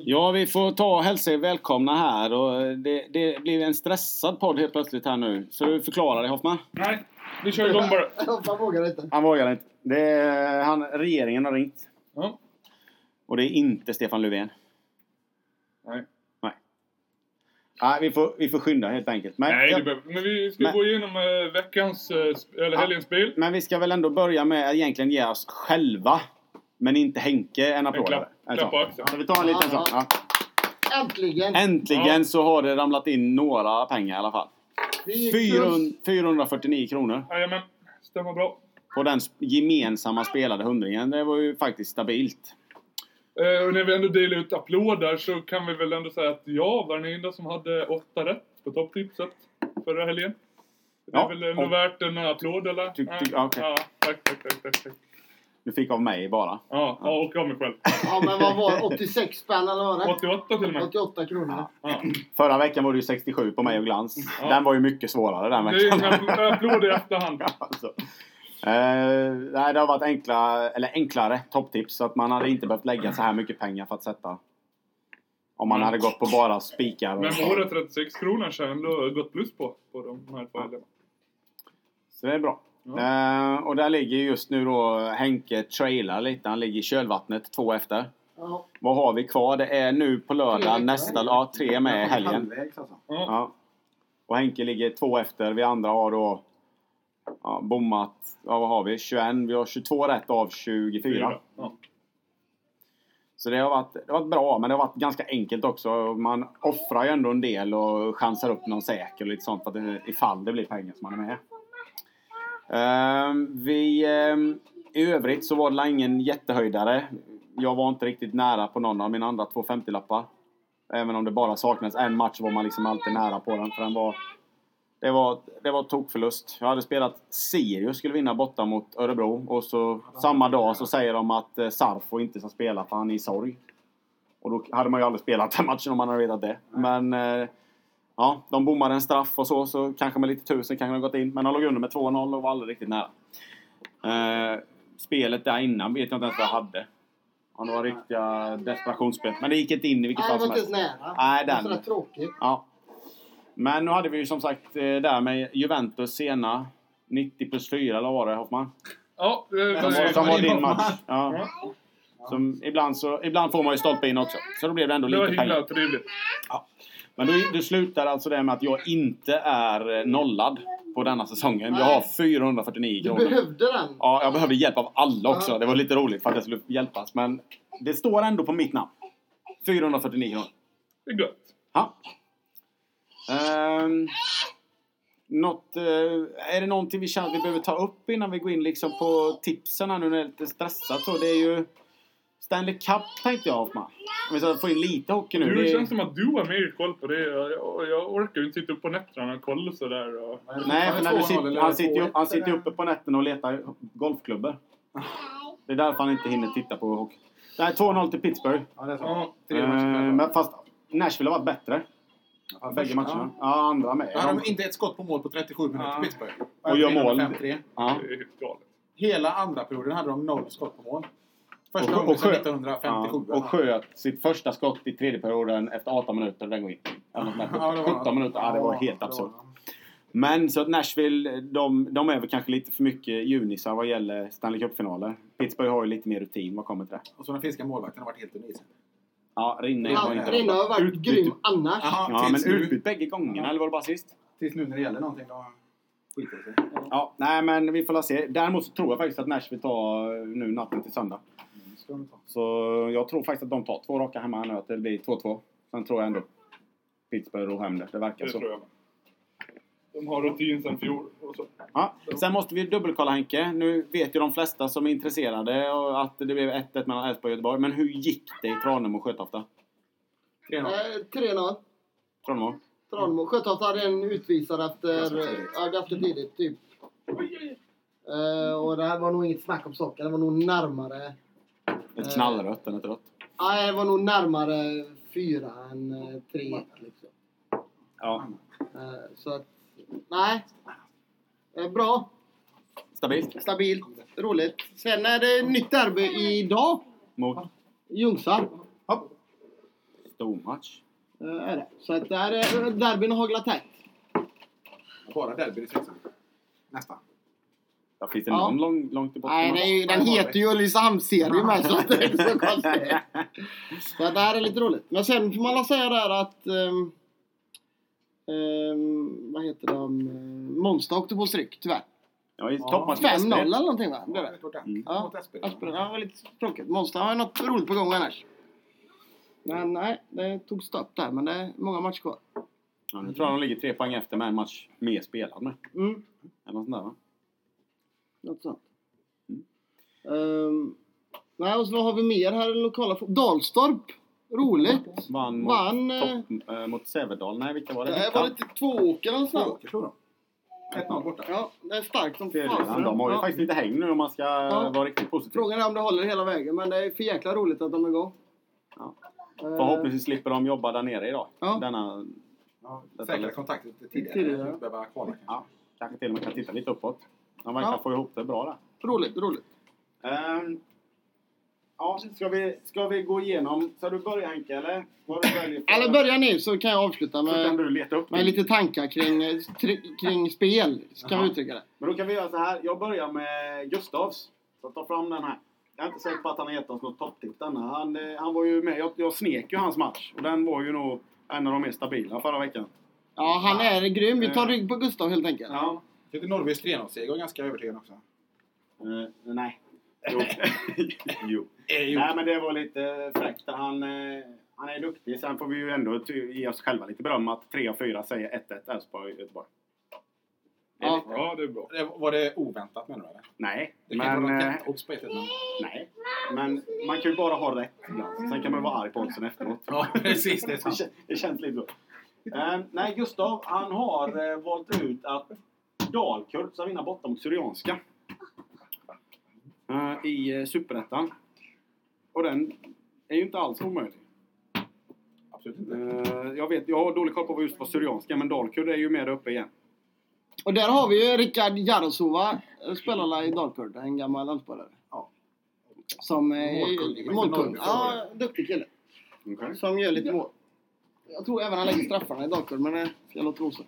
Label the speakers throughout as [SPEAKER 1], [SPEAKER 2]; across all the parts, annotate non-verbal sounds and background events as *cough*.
[SPEAKER 1] Ja, vi får ta och hälsa er välkomna här. Och det, det blev en stressad podd helt plötsligt här nu. Så du förklarar dig Hoffman?
[SPEAKER 2] Nej, vi kör igång bara.
[SPEAKER 3] Man vågar inte.
[SPEAKER 1] Han vågar inte. Det är, han, regeringen har ringt.
[SPEAKER 2] Ja.
[SPEAKER 1] Och det är inte Stefan Löfven.
[SPEAKER 2] Nej.
[SPEAKER 1] Nej, vi får, vi får skynda helt enkelt. Men,
[SPEAKER 2] Nej, det
[SPEAKER 1] jag,
[SPEAKER 2] behöver Men vi ska
[SPEAKER 1] Men-
[SPEAKER 2] gå igenom eh, veckans, eh, sp- eller
[SPEAKER 1] Ja.
[SPEAKER 2] helgens bil.
[SPEAKER 1] men vi ska väl ändå börja med att egentligen ge oss själva. Men inte Henke en applåd.
[SPEAKER 2] En klapp-
[SPEAKER 1] eller? En
[SPEAKER 2] klapp på
[SPEAKER 1] sån.
[SPEAKER 2] axeln.
[SPEAKER 1] Så vi tar en liten sån.
[SPEAKER 3] Ja,
[SPEAKER 1] Ja.
[SPEAKER 3] Äntligen!
[SPEAKER 1] Äntligen
[SPEAKER 2] Ja.
[SPEAKER 1] så har det ramlat in några pengar i alla fall.
[SPEAKER 3] Vi gick plus.
[SPEAKER 1] 400, 449 kronor
[SPEAKER 2] Jajamän, stämmer bra.
[SPEAKER 1] på den sp- gemensamma spelade hundringen. Det var ju faktiskt stabilt.
[SPEAKER 2] Eh, och när vi ändå delar ut applåder så kan vi väl ändå säga att jag var den enda som hade åtta rätt på topptipset förra helgen. Det är
[SPEAKER 1] Ja,
[SPEAKER 2] väl ändå
[SPEAKER 1] och-
[SPEAKER 2] värt en applåd eller?
[SPEAKER 1] Ty- ty-
[SPEAKER 2] ja,
[SPEAKER 1] okej.
[SPEAKER 2] ja, tack, tack, tack, tack. tack.
[SPEAKER 1] Du fick av mig bara.
[SPEAKER 2] Ja, ja, och jag mig själv.
[SPEAKER 3] Ja, men vad var det? 86 spänn eller vad var
[SPEAKER 2] 88 till
[SPEAKER 3] det?
[SPEAKER 2] och med.
[SPEAKER 3] 88 kronor.
[SPEAKER 2] Ja.
[SPEAKER 1] Förra veckan var det ju 67 på mig och glans.
[SPEAKER 2] Ja.
[SPEAKER 1] Den var ju mycket svårare den
[SPEAKER 2] Det är
[SPEAKER 1] veckan.
[SPEAKER 2] inga appl- applåder
[SPEAKER 1] *laughs*
[SPEAKER 2] i efterhand.
[SPEAKER 1] alltså. Eh, nej, det har varit enkla, eller enklare topptips. Så att man hade inte behövt lägga så här mycket pengar för att sätta. Om man
[SPEAKER 2] Mm.
[SPEAKER 1] hade gått på bara spikar. Och
[SPEAKER 2] Men våra 36 kronor så har jag ändå gått plus på, på de här två helgerna.
[SPEAKER 1] Så det är bra.
[SPEAKER 2] Ja.
[SPEAKER 1] Eh, och där ligger just nu då Henke trailar lite. Han ligger i kölvattnet två efter.
[SPEAKER 3] Ja.
[SPEAKER 1] Vad har vi kvar? Det är nu på
[SPEAKER 3] Tre
[SPEAKER 1] lördag
[SPEAKER 3] veckor.
[SPEAKER 1] nästa... Ja, tre med i helgen.
[SPEAKER 4] Halvvägs alltså.
[SPEAKER 2] Ja.
[SPEAKER 1] Ja. Och Henke ligger två efter. Vi andra har då ja, bommat... Ja, vad har vi? 21. Vi har 22 rätt av 24.
[SPEAKER 2] Ja.
[SPEAKER 1] Så det har, varit, det har varit bra, men det har varit ganska enkelt också. Man offrar ju ändå en del och chansar upp någon säker och lite sånt för att det, ifall det blir pengar som man är med. Ehm, vi, ehm, I övrigt så var det ingen jättehöjdare. Jag var inte riktigt nära på någon av mina andra två 50-lappar. Även om det bara saknades en match var man liksom alltid nära på den. För den var, det var, det var tokförlust. Jag hade spelat Sirius, skulle vinna borta mot Örebro. Och så samma dag så säger de att eh, Sarfo inte ska spela för han är i sorg. Och då hade man ju aldrig spelat den matchen om man hade vetat det. Men eh, ja, de bommade en straff och så, så kanske med lite tusen kanske de gått in. Men de låg under med 2-0 och var aldrig riktigt nära. Eh, spelet där innan vet jag inte ens vad jag hade. Ja, det var riktiga desperationsspel. Men det gick inte in i vilket
[SPEAKER 3] Nej, det
[SPEAKER 1] fall
[SPEAKER 3] var
[SPEAKER 1] som
[SPEAKER 3] inte ens
[SPEAKER 1] helst.
[SPEAKER 3] nära.
[SPEAKER 1] Nej,
[SPEAKER 3] Det var
[SPEAKER 1] den.
[SPEAKER 3] sådär tråkigt.
[SPEAKER 1] Ja. Men nu hade vi ju som sagt eh, där med Juventus sena 90 plus 4 eller vad var det Hoffman?
[SPEAKER 2] Ja, eh, det
[SPEAKER 1] Som
[SPEAKER 2] var,
[SPEAKER 1] var, som var din match.
[SPEAKER 2] Ja.
[SPEAKER 1] Ja. Som ibland, så, ibland får man ju stolpe in också. Så då blev det ändå
[SPEAKER 2] Det var
[SPEAKER 1] lite pengar.
[SPEAKER 2] himla trevligt.
[SPEAKER 1] Men du, du slutar alltså det med att jag inte är eh, nollad på denna säsongen. Jag har 449
[SPEAKER 3] Du
[SPEAKER 1] kronor.
[SPEAKER 3] behövde den.
[SPEAKER 1] Ja, jag behöver hjälp av alla också.
[SPEAKER 3] Ja.
[SPEAKER 1] Det var lite roligt för att jag skulle hjälpas. Men det står ändå på mitt namn. 449 kronor.
[SPEAKER 2] Det är gött.
[SPEAKER 1] Ja. Ehm, något, eh, är det någonting vi känner att vi behöver ta upp innan vi går in liksom på tipsen här nu när det är lite stressat så? Det är ju Stanley Cup tänkte jag Hoffman. Om vi ska få in lite hockey nu.
[SPEAKER 2] Du, det
[SPEAKER 1] Det
[SPEAKER 2] känns
[SPEAKER 1] är,
[SPEAKER 2] som att du har mer koll på det. Jag, jag, jag orkar ju inte sitta upp på nätterna och kolla sådär. Och...
[SPEAKER 1] nej, för när du
[SPEAKER 4] 2-0
[SPEAKER 1] sitter,
[SPEAKER 4] eller
[SPEAKER 1] han, sitter ju, han
[SPEAKER 4] 2-1
[SPEAKER 1] sitter ju
[SPEAKER 4] eller?
[SPEAKER 1] uppe på nätterna och letar golfklubbor. Det är därför han inte hinner titta på hockey. Nej, 2-0 till Pittsburgh.
[SPEAKER 4] Ja, det är så.
[SPEAKER 2] Ja.
[SPEAKER 4] Tre
[SPEAKER 1] Ehm,
[SPEAKER 4] matcher
[SPEAKER 1] men fast Nashville har varit bättre.
[SPEAKER 4] kvar.
[SPEAKER 1] Bägge matcherna. Ja, andra med.
[SPEAKER 4] Då hade de inte ett skott på mål på 37 minuter
[SPEAKER 2] Ja.
[SPEAKER 4] Pittsburgh. Äh,
[SPEAKER 1] Och gör mål.
[SPEAKER 4] 5-3.
[SPEAKER 1] Ja.
[SPEAKER 2] Det är helt galet.
[SPEAKER 4] Hela andra perioden hade de noll skott på mål. Första
[SPEAKER 1] Och-
[SPEAKER 4] gången
[SPEAKER 1] och
[SPEAKER 4] sedan
[SPEAKER 1] Sjö-
[SPEAKER 4] 1957.
[SPEAKER 1] Ja, och sköt sitt första skott i tredje perioden efter 18 minuter och den går in. Eller något sånt där.
[SPEAKER 4] *laughs* Ja, det var-
[SPEAKER 1] 17 minuter, ja, det var helt
[SPEAKER 4] det
[SPEAKER 1] absurt. Men så att Nashville, de, de är väl kanske lite för mycket junisar vad gäller Stanley Cup-finaler. Pittsburgh har ju lite mer rutin vad kommer till det.
[SPEAKER 4] Och så den finska målvakten har varit helt under isen.
[SPEAKER 1] Ja, Rinne var
[SPEAKER 3] Ja,
[SPEAKER 1] inte
[SPEAKER 3] Rinne har varit
[SPEAKER 1] Utbyte.
[SPEAKER 3] grym annars.
[SPEAKER 4] Jaha,
[SPEAKER 1] Ja, men
[SPEAKER 4] tills, nu,
[SPEAKER 1] utbytt bägge gångerna, eller var det bara sist?
[SPEAKER 4] tills nu när det gäller någonting då skiter det sig.
[SPEAKER 1] Ja, nej men vi får la se. Däremot så tror jag faktiskt att Nashville tar eh, nu natten till söndag.
[SPEAKER 4] Mm, ska de ta.
[SPEAKER 1] Så jag tror faktiskt att de tar två raka hemma här nu, att det blir 2-2. Sen tror jag ändå Pittsburgh ror hem det, det verkar
[SPEAKER 2] Det
[SPEAKER 1] så.
[SPEAKER 2] tror jag. De har rutin sen fjol. Och så.
[SPEAKER 1] Ja. Sen måste vi dubbelkolla Henke. Nu vet ju de flesta som är intresserade och att det blev 1-1 mellan Elfsborg och Göteborg. Men hur gick det i Tranemo och Sjötofta?
[SPEAKER 4] 3-0.
[SPEAKER 3] Eh, 3-0.
[SPEAKER 1] Tranemo?
[SPEAKER 3] Tranemo. Sjötorp hade en utvisad efter...
[SPEAKER 4] Ganska tidigt.
[SPEAKER 3] Ja, ganska tidigt. Typ. Eh, och det här var nog inget snack om saken. Det var nog närmare...
[SPEAKER 1] Ett
[SPEAKER 3] Eh.
[SPEAKER 1] knallrött än ett rött.
[SPEAKER 3] Nej, det var nog närmare fyra än eh, tre. Liksom.
[SPEAKER 1] Ja.
[SPEAKER 3] Eh, så att... Nej. Eh, bra.
[SPEAKER 1] Stabilt.
[SPEAKER 3] Stabilt. Roligt. Sen är det nytt derby idag.
[SPEAKER 1] Mot.
[SPEAKER 3] Ljungsarp.
[SPEAKER 1] Hopp. 8 omatch.
[SPEAKER 3] Eh, är det. Så att där är derbyn och haglar tätt.
[SPEAKER 4] Bara derby i sexan. Nästan.
[SPEAKER 1] Ja, finns det
[SPEAKER 3] Ja.
[SPEAKER 1] någon lång, långt tillbaka?
[SPEAKER 3] Nej, det är ju, den heter ju Ulricehamnsserien med så att det är inte så konstigt. *laughs* Så att det här är lite roligt. Men sen får man väl säga där att... ehm, ehm, vad heter de? Eh, Monster åkte på stryk, tyvärr.
[SPEAKER 1] Ja, i
[SPEAKER 4] Ja.
[SPEAKER 1] toppmatch med
[SPEAKER 3] 5-0
[SPEAKER 1] Aspen.
[SPEAKER 3] eller någonting va? Blev
[SPEAKER 4] Ja,
[SPEAKER 3] det?
[SPEAKER 4] det är
[SPEAKER 1] Mm.
[SPEAKER 4] Mot Espen.
[SPEAKER 3] Aspen, ja, det var lite tråkigt. Monster har ju något roligt på gång annars. Men nej, det tog stopp där. Men det är många matcher kvar.
[SPEAKER 1] Ja, nu tror jag de ligger tre poäng efter med en match mer spelad nu.
[SPEAKER 3] Mm,
[SPEAKER 1] Eller något sånt där va?
[SPEAKER 3] något sånt.
[SPEAKER 1] Mm.
[SPEAKER 3] Ehm, nej, och så vad har vi mer här i den lokala... fo- Dalstorp! Roligt!
[SPEAKER 1] Vann mot,
[SPEAKER 3] Vann... eh,
[SPEAKER 1] Mm. topp, eh, mot Sävedal. Nej, vilka var det?
[SPEAKER 3] Det här var lite tvååkare någonstans.
[SPEAKER 4] Tvååker slog de. 1-0 borta.
[SPEAKER 3] Ja, det är starkt som
[SPEAKER 1] Fjärilan, de har ju
[SPEAKER 3] Ja.
[SPEAKER 1] faktiskt lite häng nu om man ska
[SPEAKER 3] Ja.
[SPEAKER 1] vara riktigt positiv.
[SPEAKER 3] Frågan är om det håller hela vägen, men det är för jäkla roligt att de är igång.
[SPEAKER 1] Ja.
[SPEAKER 3] Eh,
[SPEAKER 1] Förhoppningsvis slipper de jobba där nere idag.
[SPEAKER 3] Ja.
[SPEAKER 1] Denna,
[SPEAKER 4] Ja,
[SPEAKER 1] Detta
[SPEAKER 4] säkra
[SPEAKER 1] lätt.
[SPEAKER 4] kontakter lite tidigare.
[SPEAKER 3] Tidigare.
[SPEAKER 4] Tidigare. Behöva kvala kanske.
[SPEAKER 1] Ja. kanske till och med kan titta lite uppåt. De verkar
[SPEAKER 3] Ja.
[SPEAKER 1] få ihop det bra där.
[SPEAKER 3] Roligt, roligt.
[SPEAKER 1] Ehm, ja, ska, vi, ska vi gå igenom? Ska du börja Henke eller? Vad du väljer för-
[SPEAKER 3] Eller börja ni så kan jag avsluta
[SPEAKER 1] Så kan
[SPEAKER 3] med,
[SPEAKER 1] du leta upp
[SPEAKER 3] med
[SPEAKER 1] din.
[SPEAKER 3] lite tankar kring, eh, tri- kring spel, kan
[SPEAKER 1] Jaha.
[SPEAKER 3] vi uttrycka det.
[SPEAKER 1] Men då kan vi göra så här. Jag börjar med Gustavs. Så ta fram den här. Jag är inte säker på att han har gett oss något topptipp denna. Han, eh, han var ju med. Jag, jag snek ju hans match. Och den var ju nog en av de mer stabila förra veckan.
[SPEAKER 3] Ja, han är grym. Vi tar rygg på Gustav helt enkelt.
[SPEAKER 1] Eh. Ja.
[SPEAKER 4] Jag tyckte Norrbys 3-0-seger var ganska övertygande också.
[SPEAKER 1] Eh, nej. *laughs* Jo. jo.
[SPEAKER 4] Eh,
[SPEAKER 1] Nej, men det var lite fräckt. Han, eh, han är duktig. Sen får vi ju ändå ty- ge oss själva lite beröm att 3 av 4 säger 1-1 Elfsborg Göteborg.
[SPEAKER 3] Ja.
[SPEAKER 2] Ja, det är bra.
[SPEAKER 4] Det- Var det oväntat menar du? Eller?
[SPEAKER 1] Nej,
[SPEAKER 4] Det kan inte
[SPEAKER 1] men,
[SPEAKER 4] vara
[SPEAKER 1] eh,
[SPEAKER 4] något odds på 1
[SPEAKER 1] nej. men man kan ju bara ha rätt ibland. Sen kan man vara arg på oddsen efteråt.
[SPEAKER 4] Ja, *laughs* precis. Det
[SPEAKER 1] *laughs*
[SPEAKER 4] är
[SPEAKER 1] Det,
[SPEAKER 4] sant.
[SPEAKER 1] kän- det känns lite så. Eh, nej, Gustav han har eh, valt ut att Dalkurd ska vinna borta mot Syrianska. Eh, I eh, Superettan. Och den är ju inte alls omöjlig.
[SPEAKER 4] Absolut inte.
[SPEAKER 1] Eh, jag, vet, jag har dålig koll på vad just var Syrianska, men Dalkurd är ju med där uppe igen.
[SPEAKER 3] Och där har vi ju Rickard Jarosova, eh, spelarna i Dalkurd, en gammal landspelare.
[SPEAKER 4] Ja.
[SPEAKER 3] Som är
[SPEAKER 4] Målkung.
[SPEAKER 3] målkung. Ja, duktig kille. Som gör lite mål. Jag tror även han lägger straffarna i Dalkurd, men det ska jag låta osa.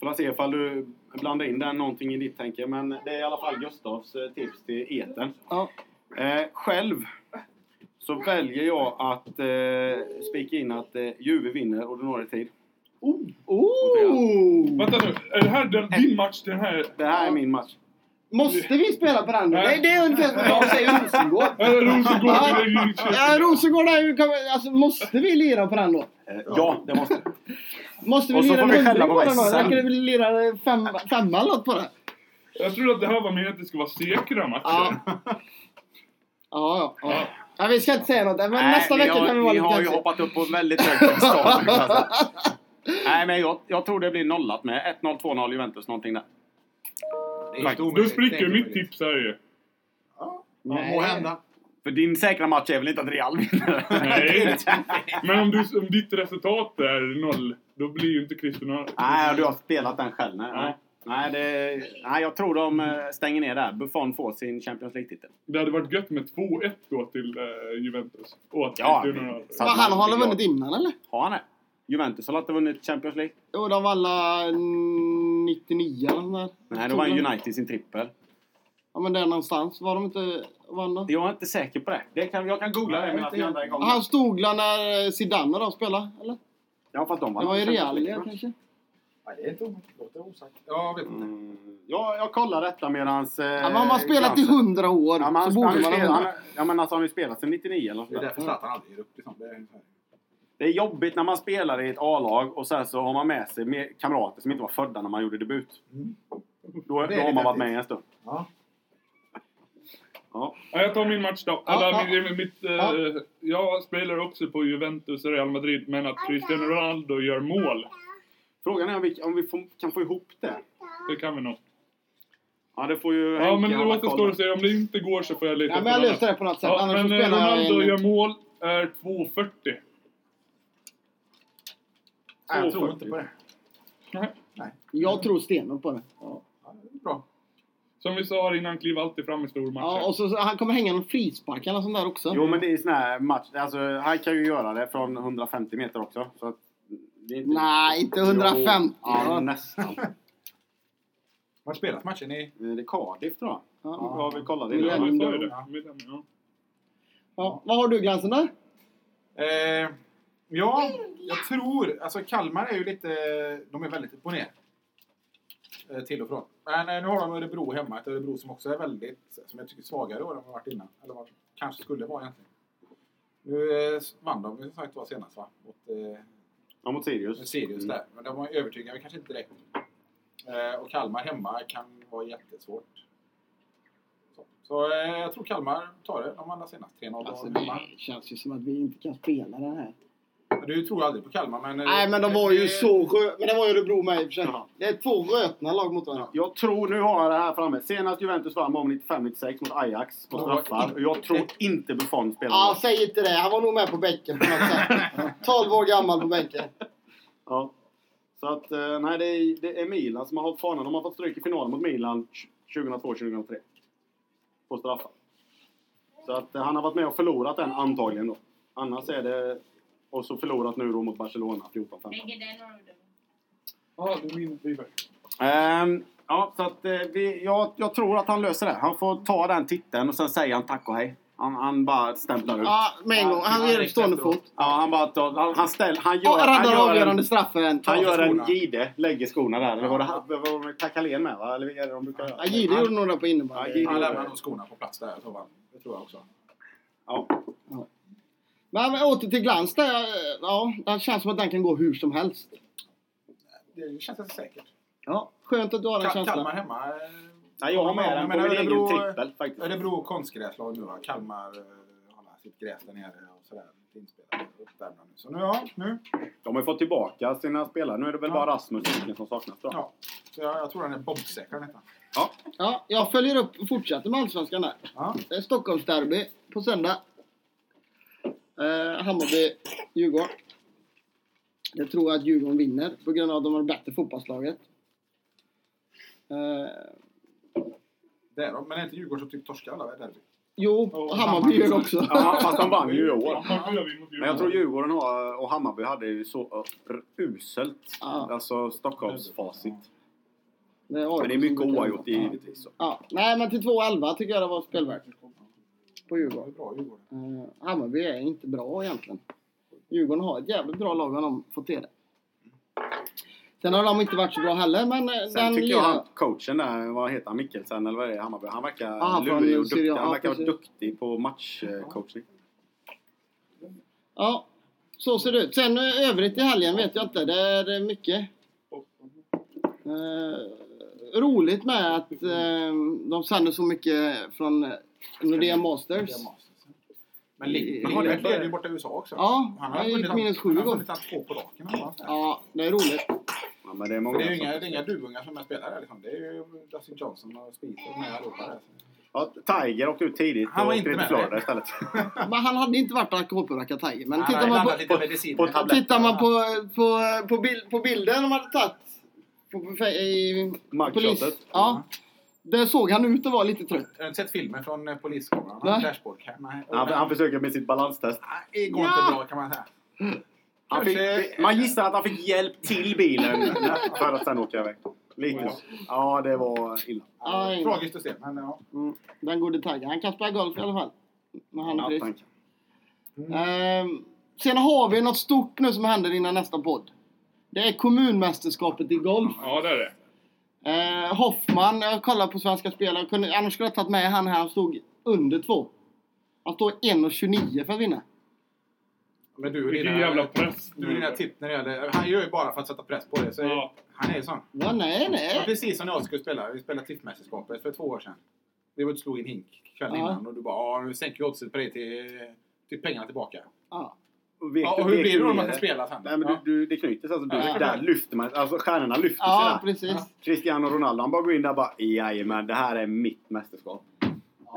[SPEAKER 1] Får se ifall du blandar in den någonting i ditt tänke, men det är i alla fall Gustavs eh, tips till eten.
[SPEAKER 3] Ja.
[SPEAKER 1] Eh, själv så väljer jag att eh, spika in att eh, Juve vinner ordinarie tid.
[SPEAKER 3] Oh!
[SPEAKER 2] Vänta nu, är det här den, din match den här?
[SPEAKER 1] Det här är min match.
[SPEAKER 3] Måste vi spela på den?
[SPEAKER 2] Nej.
[SPEAKER 3] Nej, det är ungefär som de säger i Rosengård.
[SPEAKER 2] Är det
[SPEAKER 1] *laughs*
[SPEAKER 2] Rosengård
[SPEAKER 3] Ja.
[SPEAKER 2] eller Linköping?
[SPEAKER 3] Ja, Rosengård är ju... kan vi- Alltså, måste vi lira på den då?
[SPEAKER 1] Eh, ja, det måste
[SPEAKER 3] Måste vi
[SPEAKER 1] Och så
[SPEAKER 3] lira
[SPEAKER 1] får
[SPEAKER 3] en
[SPEAKER 1] vi
[SPEAKER 3] hundring
[SPEAKER 1] skälla på
[SPEAKER 3] på den då?
[SPEAKER 1] Wessel.
[SPEAKER 3] Eller kan vi lira fem, femma eller något på den?
[SPEAKER 2] Jag trodde att det här var meningen att det skulle vara säkra matcher.
[SPEAKER 3] Ja. Ja, ja, ja. ja. Vi ska inte säga något. Men
[SPEAKER 1] Nej,
[SPEAKER 3] nästa vecka
[SPEAKER 1] har,
[SPEAKER 3] kan vi vara lite
[SPEAKER 1] har ju
[SPEAKER 3] kaxiga.
[SPEAKER 1] hoppat upp på en väldigt hög start. alltså. Nej, men jag, jag tror det blir nollat med 1-0, 2-0 Juventus, någonting där.
[SPEAKER 4] Det är
[SPEAKER 1] Faktiskt.
[SPEAKER 4] inte
[SPEAKER 2] Du
[SPEAKER 4] omöjligt.
[SPEAKER 2] spricker
[SPEAKER 4] Det
[SPEAKER 2] ju
[SPEAKER 4] är
[SPEAKER 2] mitt
[SPEAKER 4] inte omöjligt.
[SPEAKER 2] tips här ju.
[SPEAKER 4] Ja,
[SPEAKER 3] Nej.
[SPEAKER 4] må hända.
[SPEAKER 1] För din säkra match är väl inte att Real vinner? *laughs*
[SPEAKER 2] Nej. Men om, du, om ditt resultat är noll, då blir ju inte Kristina...
[SPEAKER 3] Mm.
[SPEAKER 1] Nej, du har spelat den själv. Nej, nej.
[SPEAKER 2] Ja.
[SPEAKER 1] Nej, det, nej, jag tror de eh, stänger ner där. Buffon får sin Champions League-titel.
[SPEAKER 2] Det hade varit gött med 2-1 då till eh, Juventus. Och att
[SPEAKER 1] Ja,
[SPEAKER 2] Kristina...
[SPEAKER 1] så-
[SPEAKER 3] Men han har väl vunnit innan eller?
[SPEAKER 1] Har han det? Juventus har inte vunnit Champions League.
[SPEAKER 3] Jo, de vann alla 99 eller sånt där.
[SPEAKER 1] Nej, då vann United sin trippel.
[SPEAKER 3] Ja, men där någonstans var de inte vann då.
[SPEAKER 1] Jag är inte säker på det. det kan, jag kan googla det medan vi andra är igång.
[SPEAKER 3] Han stod väl när eh, Zidane och de spelade, eller?
[SPEAKER 1] Ja, fast de vann
[SPEAKER 3] Det var ju
[SPEAKER 1] Champions
[SPEAKER 3] Real,
[SPEAKER 1] League,
[SPEAKER 3] ja,
[SPEAKER 1] va?
[SPEAKER 3] kanske?
[SPEAKER 4] Nej, det är inte omöjligt. Låt det vara osagt. Ja, jag vet inte.
[SPEAKER 1] Mm. Ja, jag kollar detta medans... Eh,
[SPEAKER 3] Ja, men om man spelat i
[SPEAKER 1] Jansen-
[SPEAKER 3] 100 år
[SPEAKER 1] Ja, men han,
[SPEAKER 3] så borde
[SPEAKER 1] han,
[SPEAKER 3] man ha
[SPEAKER 1] spelar- han,
[SPEAKER 3] vunnit.
[SPEAKER 1] ja, men alltså, han har ju spelat sedan 99 eller något
[SPEAKER 4] Det
[SPEAKER 1] sånt
[SPEAKER 4] är
[SPEAKER 1] där.
[SPEAKER 4] därför Zlatan aldrig ger upp. Liksom. Det är ungefär-
[SPEAKER 1] Det är jobbigt när man spelar i ett A-lag och sen så har man med sig med kamrater som inte var födda när man gjorde debut.
[SPEAKER 4] Mm.
[SPEAKER 1] Då,
[SPEAKER 4] Det
[SPEAKER 1] då
[SPEAKER 4] är
[SPEAKER 1] har man
[SPEAKER 4] lite
[SPEAKER 1] varit
[SPEAKER 4] häftigt.
[SPEAKER 1] med en stund.
[SPEAKER 4] Ja.
[SPEAKER 1] Ja.
[SPEAKER 2] Ja, jag tar min match då.
[SPEAKER 3] Ja,
[SPEAKER 2] Alla,
[SPEAKER 3] ja.
[SPEAKER 2] min- mitt, eh,
[SPEAKER 3] Ja.
[SPEAKER 2] Jag spelar också på Juventus och Real Madrid, men att Cristiano Ronaldo gör mål,
[SPEAKER 1] Frågan är om vi, om vi får, kan få ihop det.
[SPEAKER 2] det kan vi nog.
[SPEAKER 1] Ja, det får ju
[SPEAKER 2] Ja, men
[SPEAKER 1] hålla
[SPEAKER 2] det
[SPEAKER 1] koll
[SPEAKER 2] återstår
[SPEAKER 1] på.
[SPEAKER 2] att se. Om det inte går så får jag lite...
[SPEAKER 3] Ja, men jag löste det på något sätt.
[SPEAKER 2] Ja,
[SPEAKER 3] Annars
[SPEAKER 2] men
[SPEAKER 3] så
[SPEAKER 2] eh,
[SPEAKER 3] spelar jag
[SPEAKER 2] Ronaldo
[SPEAKER 3] in.
[SPEAKER 2] gör mål, är 2.40.
[SPEAKER 4] Nej, jag tror
[SPEAKER 1] 2,40.
[SPEAKER 4] inte på det.
[SPEAKER 2] Nej.
[SPEAKER 3] Jag tror stenhårt på det.
[SPEAKER 4] Ja, det är bra.
[SPEAKER 2] *laughs* Som vi sa här innan, kliv alltid fram i stormatcher.
[SPEAKER 3] Ja, och så, så, han kommer hänga någon frispark eller något sånt där också.
[SPEAKER 1] Jo, men det är sån här match. Alltså, han kan ju göra det från 150 meter också. Så att det är inte...
[SPEAKER 3] Nej, inte 150.
[SPEAKER 1] Jo, ja, nästan.
[SPEAKER 4] Har spelat matchen i...
[SPEAKER 1] Det är Cardiff, tror jag.
[SPEAKER 3] Ja.
[SPEAKER 1] Ja, vi kollade
[SPEAKER 2] Ja,
[SPEAKER 1] det.
[SPEAKER 2] vi sa ju
[SPEAKER 3] ändå.
[SPEAKER 2] det. Med den, ja.
[SPEAKER 3] Ja. Vad har du Glansen där?
[SPEAKER 4] Eh, ja, jag tror... Alltså Kalmar är ju lite... De är väldigt upp och ner. Eh, till och från. Men eh, nu har de Örebro hemma. Ett Örebro som också är väldigt... Som jag tycker är svagare i år än vad varit innan. Eller vad kanske skulle vara egentligen. Nu eh, vann de ju som sagt var senast va? Mot eh,
[SPEAKER 1] Ja, mot
[SPEAKER 4] med
[SPEAKER 1] Sirius.
[SPEAKER 4] Sirius
[SPEAKER 1] Mm.
[SPEAKER 4] där. Men de var övertygade kanske inte direkt. Eh, och Kalmar hemma kan vara jättesvårt. Så, så eh, jag tror Kalmar tar det. De vann senast 3-0
[SPEAKER 3] Alltså,
[SPEAKER 4] hemma.
[SPEAKER 3] det känns ju som att vi inte kan spela den här.
[SPEAKER 4] Men Du tror aldrig på Kalmar men... eh,
[SPEAKER 3] Nej, men de var ju
[SPEAKER 4] eh,
[SPEAKER 3] så skö... Men det var ju Örebro med i och för sig.
[SPEAKER 1] Ja.
[SPEAKER 3] Det är två rötna lag mot varandra.
[SPEAKER 1] Jag tror, nu har jag det här framme. Senast Juventus vann var 95-96 mot Ajax på straffar. Och jag tror inte Buffon spelade.
[SPEAKER 3] Ja, säg inte det. Han var nog med på bänken på något sätt.
[SPEAKER 1] *laughs*
[SPEAKER 3] 12 år gammal på bänken.
[SPEAKER 1] Ja. Så att, eh, nej, det är, det är Milan som har hållit fanan. De har fått stryk i finalen mot Milan 2002-2003. På straffar. Så att eh, han har varit med och förlorat den antagligen då. Annars är det... Och så förlorat nu då mot Barcelona 14-15.
[SPEAKER 5] Bägge delar har du då.
[SPEAKER 2] Ja, det är min fever.
[SPEAKER 1] Ehm, ja, så att, eh, vi, jag, jag tror att han löser det. Han får ta den titeln och sen säger han tack och hej. Han, han bara stämplar ut.
[SPEAKER 3] Ja, med en gång. Han
[SPEAKER 4] Ja,
[SPEAKER 3] ger en
[SPEAKER 4] riktigt
[SPEAKER 3] stående
[SPEAKER 4] bra.
[SPEAKER 3] fot.
[SPEAKER 1] Ja, han bara tar, han, han ställer, han
[SPEAKER 3] Och
[SPEAKER 1] gör, han
[SPEAKER 3] räddar
[SPEAKER 1] gör
[SPEAKER 3] avgörande
[SPEAKER 1] en,
[SPEAKER 3] straffen.
[SPEAKER 1] han gör en
[SPEAKER 4] skorna.
[SPEAKER 1] gide, lägger skorna där. Eller var det, var det, var det Kakalén med va? Eller vad är det de brukar
[SPEAKER 3] Ja,
[SPEAKER 1] göra?
[SPEAKER 3] Gide gjorde nog det på
[SPEAKER 1] Ja,
[SPEAKER 3] innebandy.
[SPEAKER 1] Gide.
[SPEAKER 4] Han lämnar nog skorna på plats där. Så va? Det tror jag också.
[SPEAKER 1] Ja.
[SPEAKER 3] Men men åter till Glans där. Ja, det känns som att den kan gå hur som helst.
[SPEAKER 4] Det känns ganska säkert.
[SPEAKER 3] Ja, skönt att du har den
[SPEAKER 4] Ka-
[SPEAKER 3] känslan.
[SPEAKER 4] Kalmar hemma. eh,
[SPEAKER 1] Nej, jag har med den på
[SPEAKER 4] Men
[SPEAKER 1] min egen
[SPEAKER 4] Örebro-
[SPEAKER 1] trippel faktiskt.
[SPEAKER 4] Örebro konstgräslag nu va. Kalmar eh, har sitt gräs där nere och sådär. Lite inspelat och uppvärmda nu. Så nu ja, nu.
[SPEAKER 1] De har ju fått tillbaka sina spelare. Nu är det väl
[SPEAKER 4] Ja.
[SPEAKER 1] bara Rasmus Wiken som saknas då.
[SPEAKER 4] Ja. Så jag, jag tror han är bombsäker detta.
[SPEAKER 3] Ja, jag följer upp och fortsätter med Allsvenskan där.
[SPEAKER 4] Ja.
[SPEAKER 3] Det är Eh, Stockholmsderby på söndag. Eh, Hammarby-Djurgården. Jag tror att Djurgården vinner på grund av att de har det bättre fotbollslaget. Eh,
[SPEAKER 4] Det är de. Men är inte Djurgården som typ torskar alla derby?
[SPEAKER 3] jo,
[SPEAKER 2] Och
[SPEAKER 3] Hammarby gör det
[SPEAKER 4] Hammarby.
[SPEAKER 3] också.
[SPEAKER 1] Ja, fast de vann ju i år.
[SPEAKER 2] Ja, nu gör vi mot
[SPEAKER 1] Men jag tror Djurgården har, och Hammarby hade ju så r- uselt,
[SPEAKER 3] Ja.
[SPEAKER 1] alltså Stockholmsfacit.
[SPEAKER 3] Det är, AIK
[SPEAKER 1] Men det är mycket
[SPEAKER 3] som brukar
[SPEAKER 1] oavgjort
[SPEAKER 3] vinna.
[SPEAKER 1] givetvis. så.
[SPEAKER 3] Ja. Nej, men till 2-11 tycker jag det var spelvärt på
[SPEAKER 4] Det var
[SPEAKER 3] Djurgården.
[SPEAKER 4] ju bra Djurgården.
[SPEAKER 3] Eh, Hammarby är inte bra egentligen. Djurgården har ett jävligt bra lag om de får till det. Sen har de inte varit så bra heller, men eh,
[SPEAKER 1] Sen
[SPEAKER 3] den
[SPEAKER 1] tycker jag
[SPEAKER 3] lilla-
[SPEAKER 1] han, coachen där, vad heter han, Mikkelsen eller vad är det, Hammarby? Han verkar
[SPEAKER 3] han från
[SPEAKER 1] lurig och duktig.
[SPEAKER 3] Syrian.
[SPEAKER 1] Han
[SPEAKER 3] Ja,
[SPEAKER 1] verkar vara
[SPEAKER 3] precis.
[SPEAKER 1] duktig på matchcoachning.
[SPEAKER 3] Ja, så ser det ut. Sen eh, övrigt i helgen vet jag inte. Det är eh, mycket. Eh, roligt med att eh, de sänder så mycket från eh, Nordea Masters.
[SPEAKER 4] Det är Masters. Men Lind-
[SPEAKER 3] Men
[SPEAKER 1] har
[SPEAKER 4] Lindberg
[SPEAKER 1] det-
[SPEAKER 4] leder ju borta i USA också.
[SPEAKER 3] Ja, han
[SPEAKER 4] vunnit
[SPEAKER 3] gick
[SPEAKER 4] han-
[SPEAKER 3] minus sju
[SPEAKER 4] Han har
[SPEAKER 3] gånger.
[SPEAKER 4] vunnit han två på raken. eller vad fan.
[SPEAKER 3] Ja, det är roligt.
[SPEAKER 1] Ja, men det är
[SPEAKER 4] För
[SPEAKER 1] många
[SPEAKER 4] det är ju
[SPEAKER 1] som-
[SPEAKER 4] inga, det är inga duvungar som är spelare. Liksom. Det är ju Dustin Johnson och Spicer och de här allihopa där.
[SPEAKER 1] ja, Tiger åkte ut tidigt
[SPEAKER 4] Han var
[SPEAKER 1] och
[SPEAKER 4] inte
[SPEAKER 1] åkte till
[SPEAKER 4] med.
[SPEAKER 1] Florida
[SPEAKER 4] *laughs*
[SPEAKER 1] istället.
[SPEAKER 3] Men han hade inte varit alkoholpåverkad Tiger. Men
[SPEAKER 4] Han
[SPEAKER 3] tittar
[SPEAKER 4] har
[SPEAKER 3] man, på,
[SPEAKER 4] blandat lite medicin.
[SPEAKER 1] på tabletter.
[SPEAKER 3] tittar man på, på, på, bild, på bilden de hade tagit på, på, fe- i polis...
[SPEAKER 1] Mugshotet.
[SPEAKER 3] Ja, där såg han ut att vara lite trött.
[SPEAKER 4] Har du inte sett filmen från eh, poliskameran?
[SPEAKER 3] Nej.
[SPEAKER 4] Han Dashboard cam. Nej.
[SPEAKER 1] Han, han försöker med sitt balanstest.
[SPEAKER 4] Nej, Det går inte
[SPEAKER 3] Ja.
[SPEAKER 4] bra kan man säga.
[SPEAKER 1] Han fick,
[SPEAKER 4] Kanske-
[SPEAKER 1] man gissar att han fick hjälp till bilen *laughs* för att sen åka iväg. Lite så. Ja, det var illa.
[SPEAKER 4] Ja,
[SPEAKER 3] Aj.
[SPEAKER 4] Tragiskt att se. Men, ja.
[SPEAKER 3] Mm, den gode Tiger. Han kan spela golf i alla fall. När han är
[SPEAKER 1] Ja,
[SPEAKER 3] frisk.
[SPEAKER 1] tack.
[SPEAKER 3] Ehm, sen har vi något stort nu som händer innan nästa podd. Det är kommunmästerskapet i golf.
[SPEAKER 2] Ja, det är det.
[SPEAKER 3] Ehm, Hoffman, jag kollade på Svenska Spel. Jag kunde, annars skulle jag tagit med han här. Han stod under två. Han står 1,29 för att vinna.
[SPEAKER 4] men du och
[SPEAKER 2] Vilken
[SPEAKER 4] dina,
[SPEAKER 2] jävla press.
[SPEAKER 4] du och dina tipp när det gäller... Han gör ju bara för att sätta press på dig. Så
[SPEAKER 2] Ja.
[SPEAKER 4] Han är ju sån.
[SPEAKER 3] Ja, nej,
[SPEAKER 4] Det var
[SPEAKER 3] nej.
[SPEAKER 4] precis som när jag skulle spela. Vi spelade tippmästerskapet för två år sedan. Vi var ute och slog en hink kvällen
[SPEAKER 3] Ja.
[SPEAKER 4] innan och du bara "Ja, nu sänker jag oddset på dig till, till pengarna tillbaka.
[SPEAKER 3] Ja.
[SPEAKER 1] Och vek-
[SPEAKER 4] Ja, och hur
[SPEAKER 1] vek
[SPEAKER 4] blir det då
[SPEAKER 1] ner
[SPEAKER 4] när man
[SPEAKER 1] det?
[SPEAKER 4] ska spela sen?
[SPEAKER 1] Nej, men du,
[SPEAKER 4] Ja.
[SPEAKER 1] du, det knyter sig. Alltså, du,
[SPEAKER 3] Ja.
[SPEAKER 1] Där lyfter man, alltså, stjärnorna lyfter sig
[SPEAKER 3] Ja,
[SPEAKER 1] där.
[SPEAKER 3] precis.
[SPEAKER 4] Ja.
[SPEAKER 1] Cristiano Ronaldo, han bara går in där och bara Jajamän, det här är mitt mästerskap.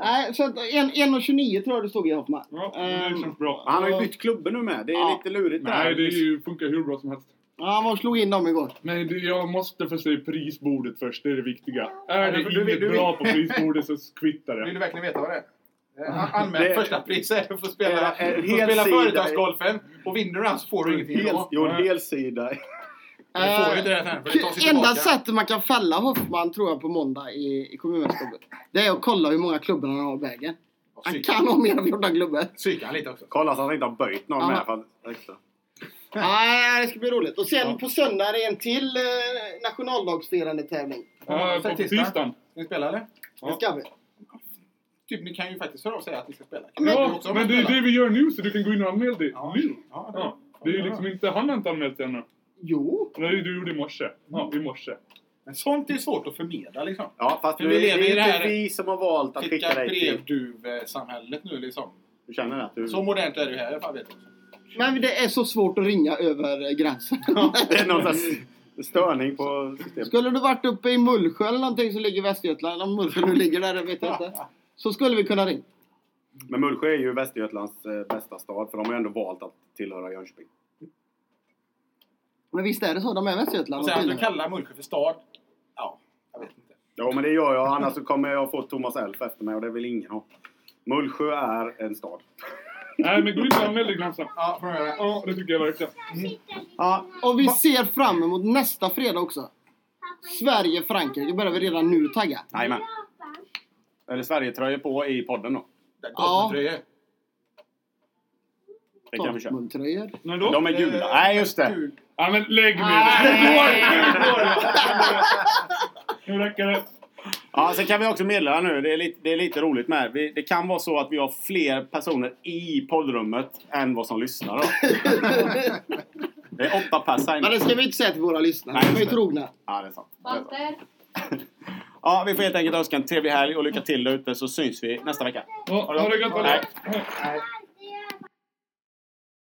[SPEAKER 3] Nej, så att en- 1,29 tror jag det stod i Hoffman.
[SPEAKER 2] Ja, liksom- men det
[SPEAKER 3] Ehm,
[SPEAKER 4] liksom.
[SPEAKER 2] känns bra.
[SPEAKER 1] Och han har ju bytt klubbor nu med. Det är
[SPEAKER 3] Ja.
[SPEAKER 1] lite lurigt
[SPEAKER 2] Nej,
[SPEAKER 1] där.
[SPEAKER 2] det är ju, funkar hur bra som helst.
[SPEAKER 3] Ja, man slog in dem igår.
[SPEAKER 2] Nej, du, jag måste få se prisbordet först. Det är det viktiga. Är det
[SPEAKER 4] men du-
[SPEAKER 2] inget
[SPEAKER 4] du-
[SPEAKER 2] bra på prisbordet så kvittar
[SPEAKER 4] Vill
[SPEAKER 2] det.
[SPEAKER 4] du verkligen veta vad det är? Eh, Anmäl
[SPEAKER 1] Det-
[SPEAKER 4] första priset. Du får spela,
[SPEAKER 1] Eh, en
[SPEAKER 4] du får
[SPEAKER 1] hel
[SPEAKER 4] spela
[SPEAKER 1] sida.
[SPEAKER 4] företagsgolfen. Och vinner du den så får du ingenting.
[SPEAKER 1] Hel,
[SPEAKER 4] då.
[SPEAKER 1] jo, en hel sida. *laughs*
[SPEAKER 4] Du får ju inte det här för det tas ju
[SPEAKER 3] K- Ehm, Enda
[SPEAKER 4] tillbaka.
[SPEAKER 3] sättet man kan fälla Hoffman tror jag på måndag i, i kommunmästerskapet. Det är att kolla hur många klubbor han har i vägen.
[SPEAKER 4] Och
[SPEAKER 3] Han
[SPEAKER 4] psyka-
[SPEAKER 3] kan ha mer än 14 klubbor.
[SPEAKER 4] Psyka han lite också.
[SPEAKER 1] Kolla så att han inte har böjt någon
[SPEAKER 3] Ja.
[SPEAKER 1] med. För att, extra.
[SPEAKER 3] Nej, det ska bli roligt. Och sen
[SPEAKER 2] Ja.
[SPEAKER 3] på söndag är det en till eh, nationaldagsfirande tävling.
[SPEAKER 2] Ja, på
[SPEAKER 4] Tisdag.
[SPEAKER 2] tisdagen.
[SPEAKER 4] Ska ni spela eller?
[SPEAKER 3] Det ska vi.
[SPEAKER 4] Typ, ni kan ju faktiskt höra av sig att ni ska spela. Kan du
[SPEAKER 2] Ja,
[SPEAKER 4] också
[SPEAKER 2] men det är
[SPEAKER 4] spela?
[SPEAKER 2] det vi gör nu så du kan gå in och anmäla dig
[SPEAKER 4] Ja.
[SPEAKER 2] nu.
[SPEAKER 4] Ja, det-
[SPEAKER 2] Ja, det är ju liksom inte, han har inte anmält sig ännu.
[SPEAKER 3] Jo.
[SPEAKER 2] Det är ju du gjorde i morse. Ja, i *laughs* morse.
[SPEAKER 4] Men sånt är ju svårt att förmedla liksom.
[SPEAKER 1] Ja, fast
[SPEAKER 4] För
[SPEAKER 1] nu,
[SPEAKER 4] vi
[SPEAKER 1] det
[SPEAKER 4] lever i
[SPEAKER 1] är
[SPEAKER 4] det
[SPEAKER 1] inte
[SPEAKER 4] här-
[SPEAKER 1] vi som har valt att skicka
[SPEAKER 4] Skicka
[SPEAKER 1] dig till...
[SPEAKER 4] brevduvsamhället nu liksom.
[SPEAKER 1] Du känner det? att Du,
[SPEAKER 4] Så modernt är det ju här i alla fall. Vet jag.
[SPEAKER 3] Men det är så svårt att ringa över eh, gränsen.
[SPEAKER 1] *laughs* det är någon slags störning på systemet.
[SPEAKER 3] Skulle du varit uppe i Mullsjö eller någonting som ligger i Västergötland, om Mullsjö nu ligger där, det vet jag inte. Så skulle vi kunna ringa.
[SPEAKER 1] Men Mullsjö är ju Västergötlands eh, bästa stad för de har ju ändå valt att tillhöra Jönköping.
[SPEAKER 3] Men visst är det så, de är Västergötland
[SPEAKER 4] Och
[SPEAKER 3] och
[SPEAKER 4] sen att du
[SPEAKER 3] tillhör.
[SPEAKER 4] kallar Mullsjö för stad. Ja, jag vet inte.
[SPEAKER 1] Ja, men det gör jag. Annars så kommer jag få Thomas Elf efter mig och det vill ingen ha. Mullsjö är en stad.
[SPEAKER 2] Nej, men gå in och anmäl dig Glansan.
[SPEAKER 4] Ja, får jag göra det?
[SPEAKER 2] Ja, det tycker jag verkligen.
[SPEAKER 3] Ja, och vi ser fram emot nästa fredag också. Sverige-Frankrike börjar vi redan nu tagga.
[SPEAKER 1] Jajamän. Eller Sverigetröjor på i podden då.
[SPEAKER 4] Där,
[SPEAKER 3] Ja.
[SPEAKER 4] Dortmundtröjor.
[SPEAKER 1] Det kan vi köra.
[SPEAKER 3] Dortmundtröjor.
[SPEAKER 2] När
[SPEAKER 1] De
[SPEAKER 2] då? Eh,
[SPEAKER 1] är gula. Nej, just det.
[SPEAKER 4] Gud.
[SPEAKER 2] Ja, men lägg ner *laughs* det. Nu går det. Nu går det. Nu räcker det.
[SPEAKER 1] Ja, sen kan vi också meddela nu, det är lite, det är lite roligt med. Vi, det kan vara så att vi har fler personer i poddrummet än vad som lyssnar. *laughs* Då. Det är åtta pers här
[SPEAKER 3] Men
[SPEAKER 1] inne.
[SPEAKER 3] det ska vi inte säga till våra lyssnare.
[SPEAKER 1] Nej,
[SPEAKER 3] De är ju
[SPEAKER 1] just det.
[SPEAKER 3] trogna.
[SPEAKER 1] Ja, det är sant. Det är sant.
[SPEAKER 5] Walter.
[SPEAKER 1] Ja, vi får helt enkelt önska en trevlig helg och lycka till där ute så syns vi nästa vecka.
[SPEAKER 2] Ja, ha det gött
[SPEAKER 1] Nej.
[SPEAKER 2] alla.
[SPEAKER 4] Nej.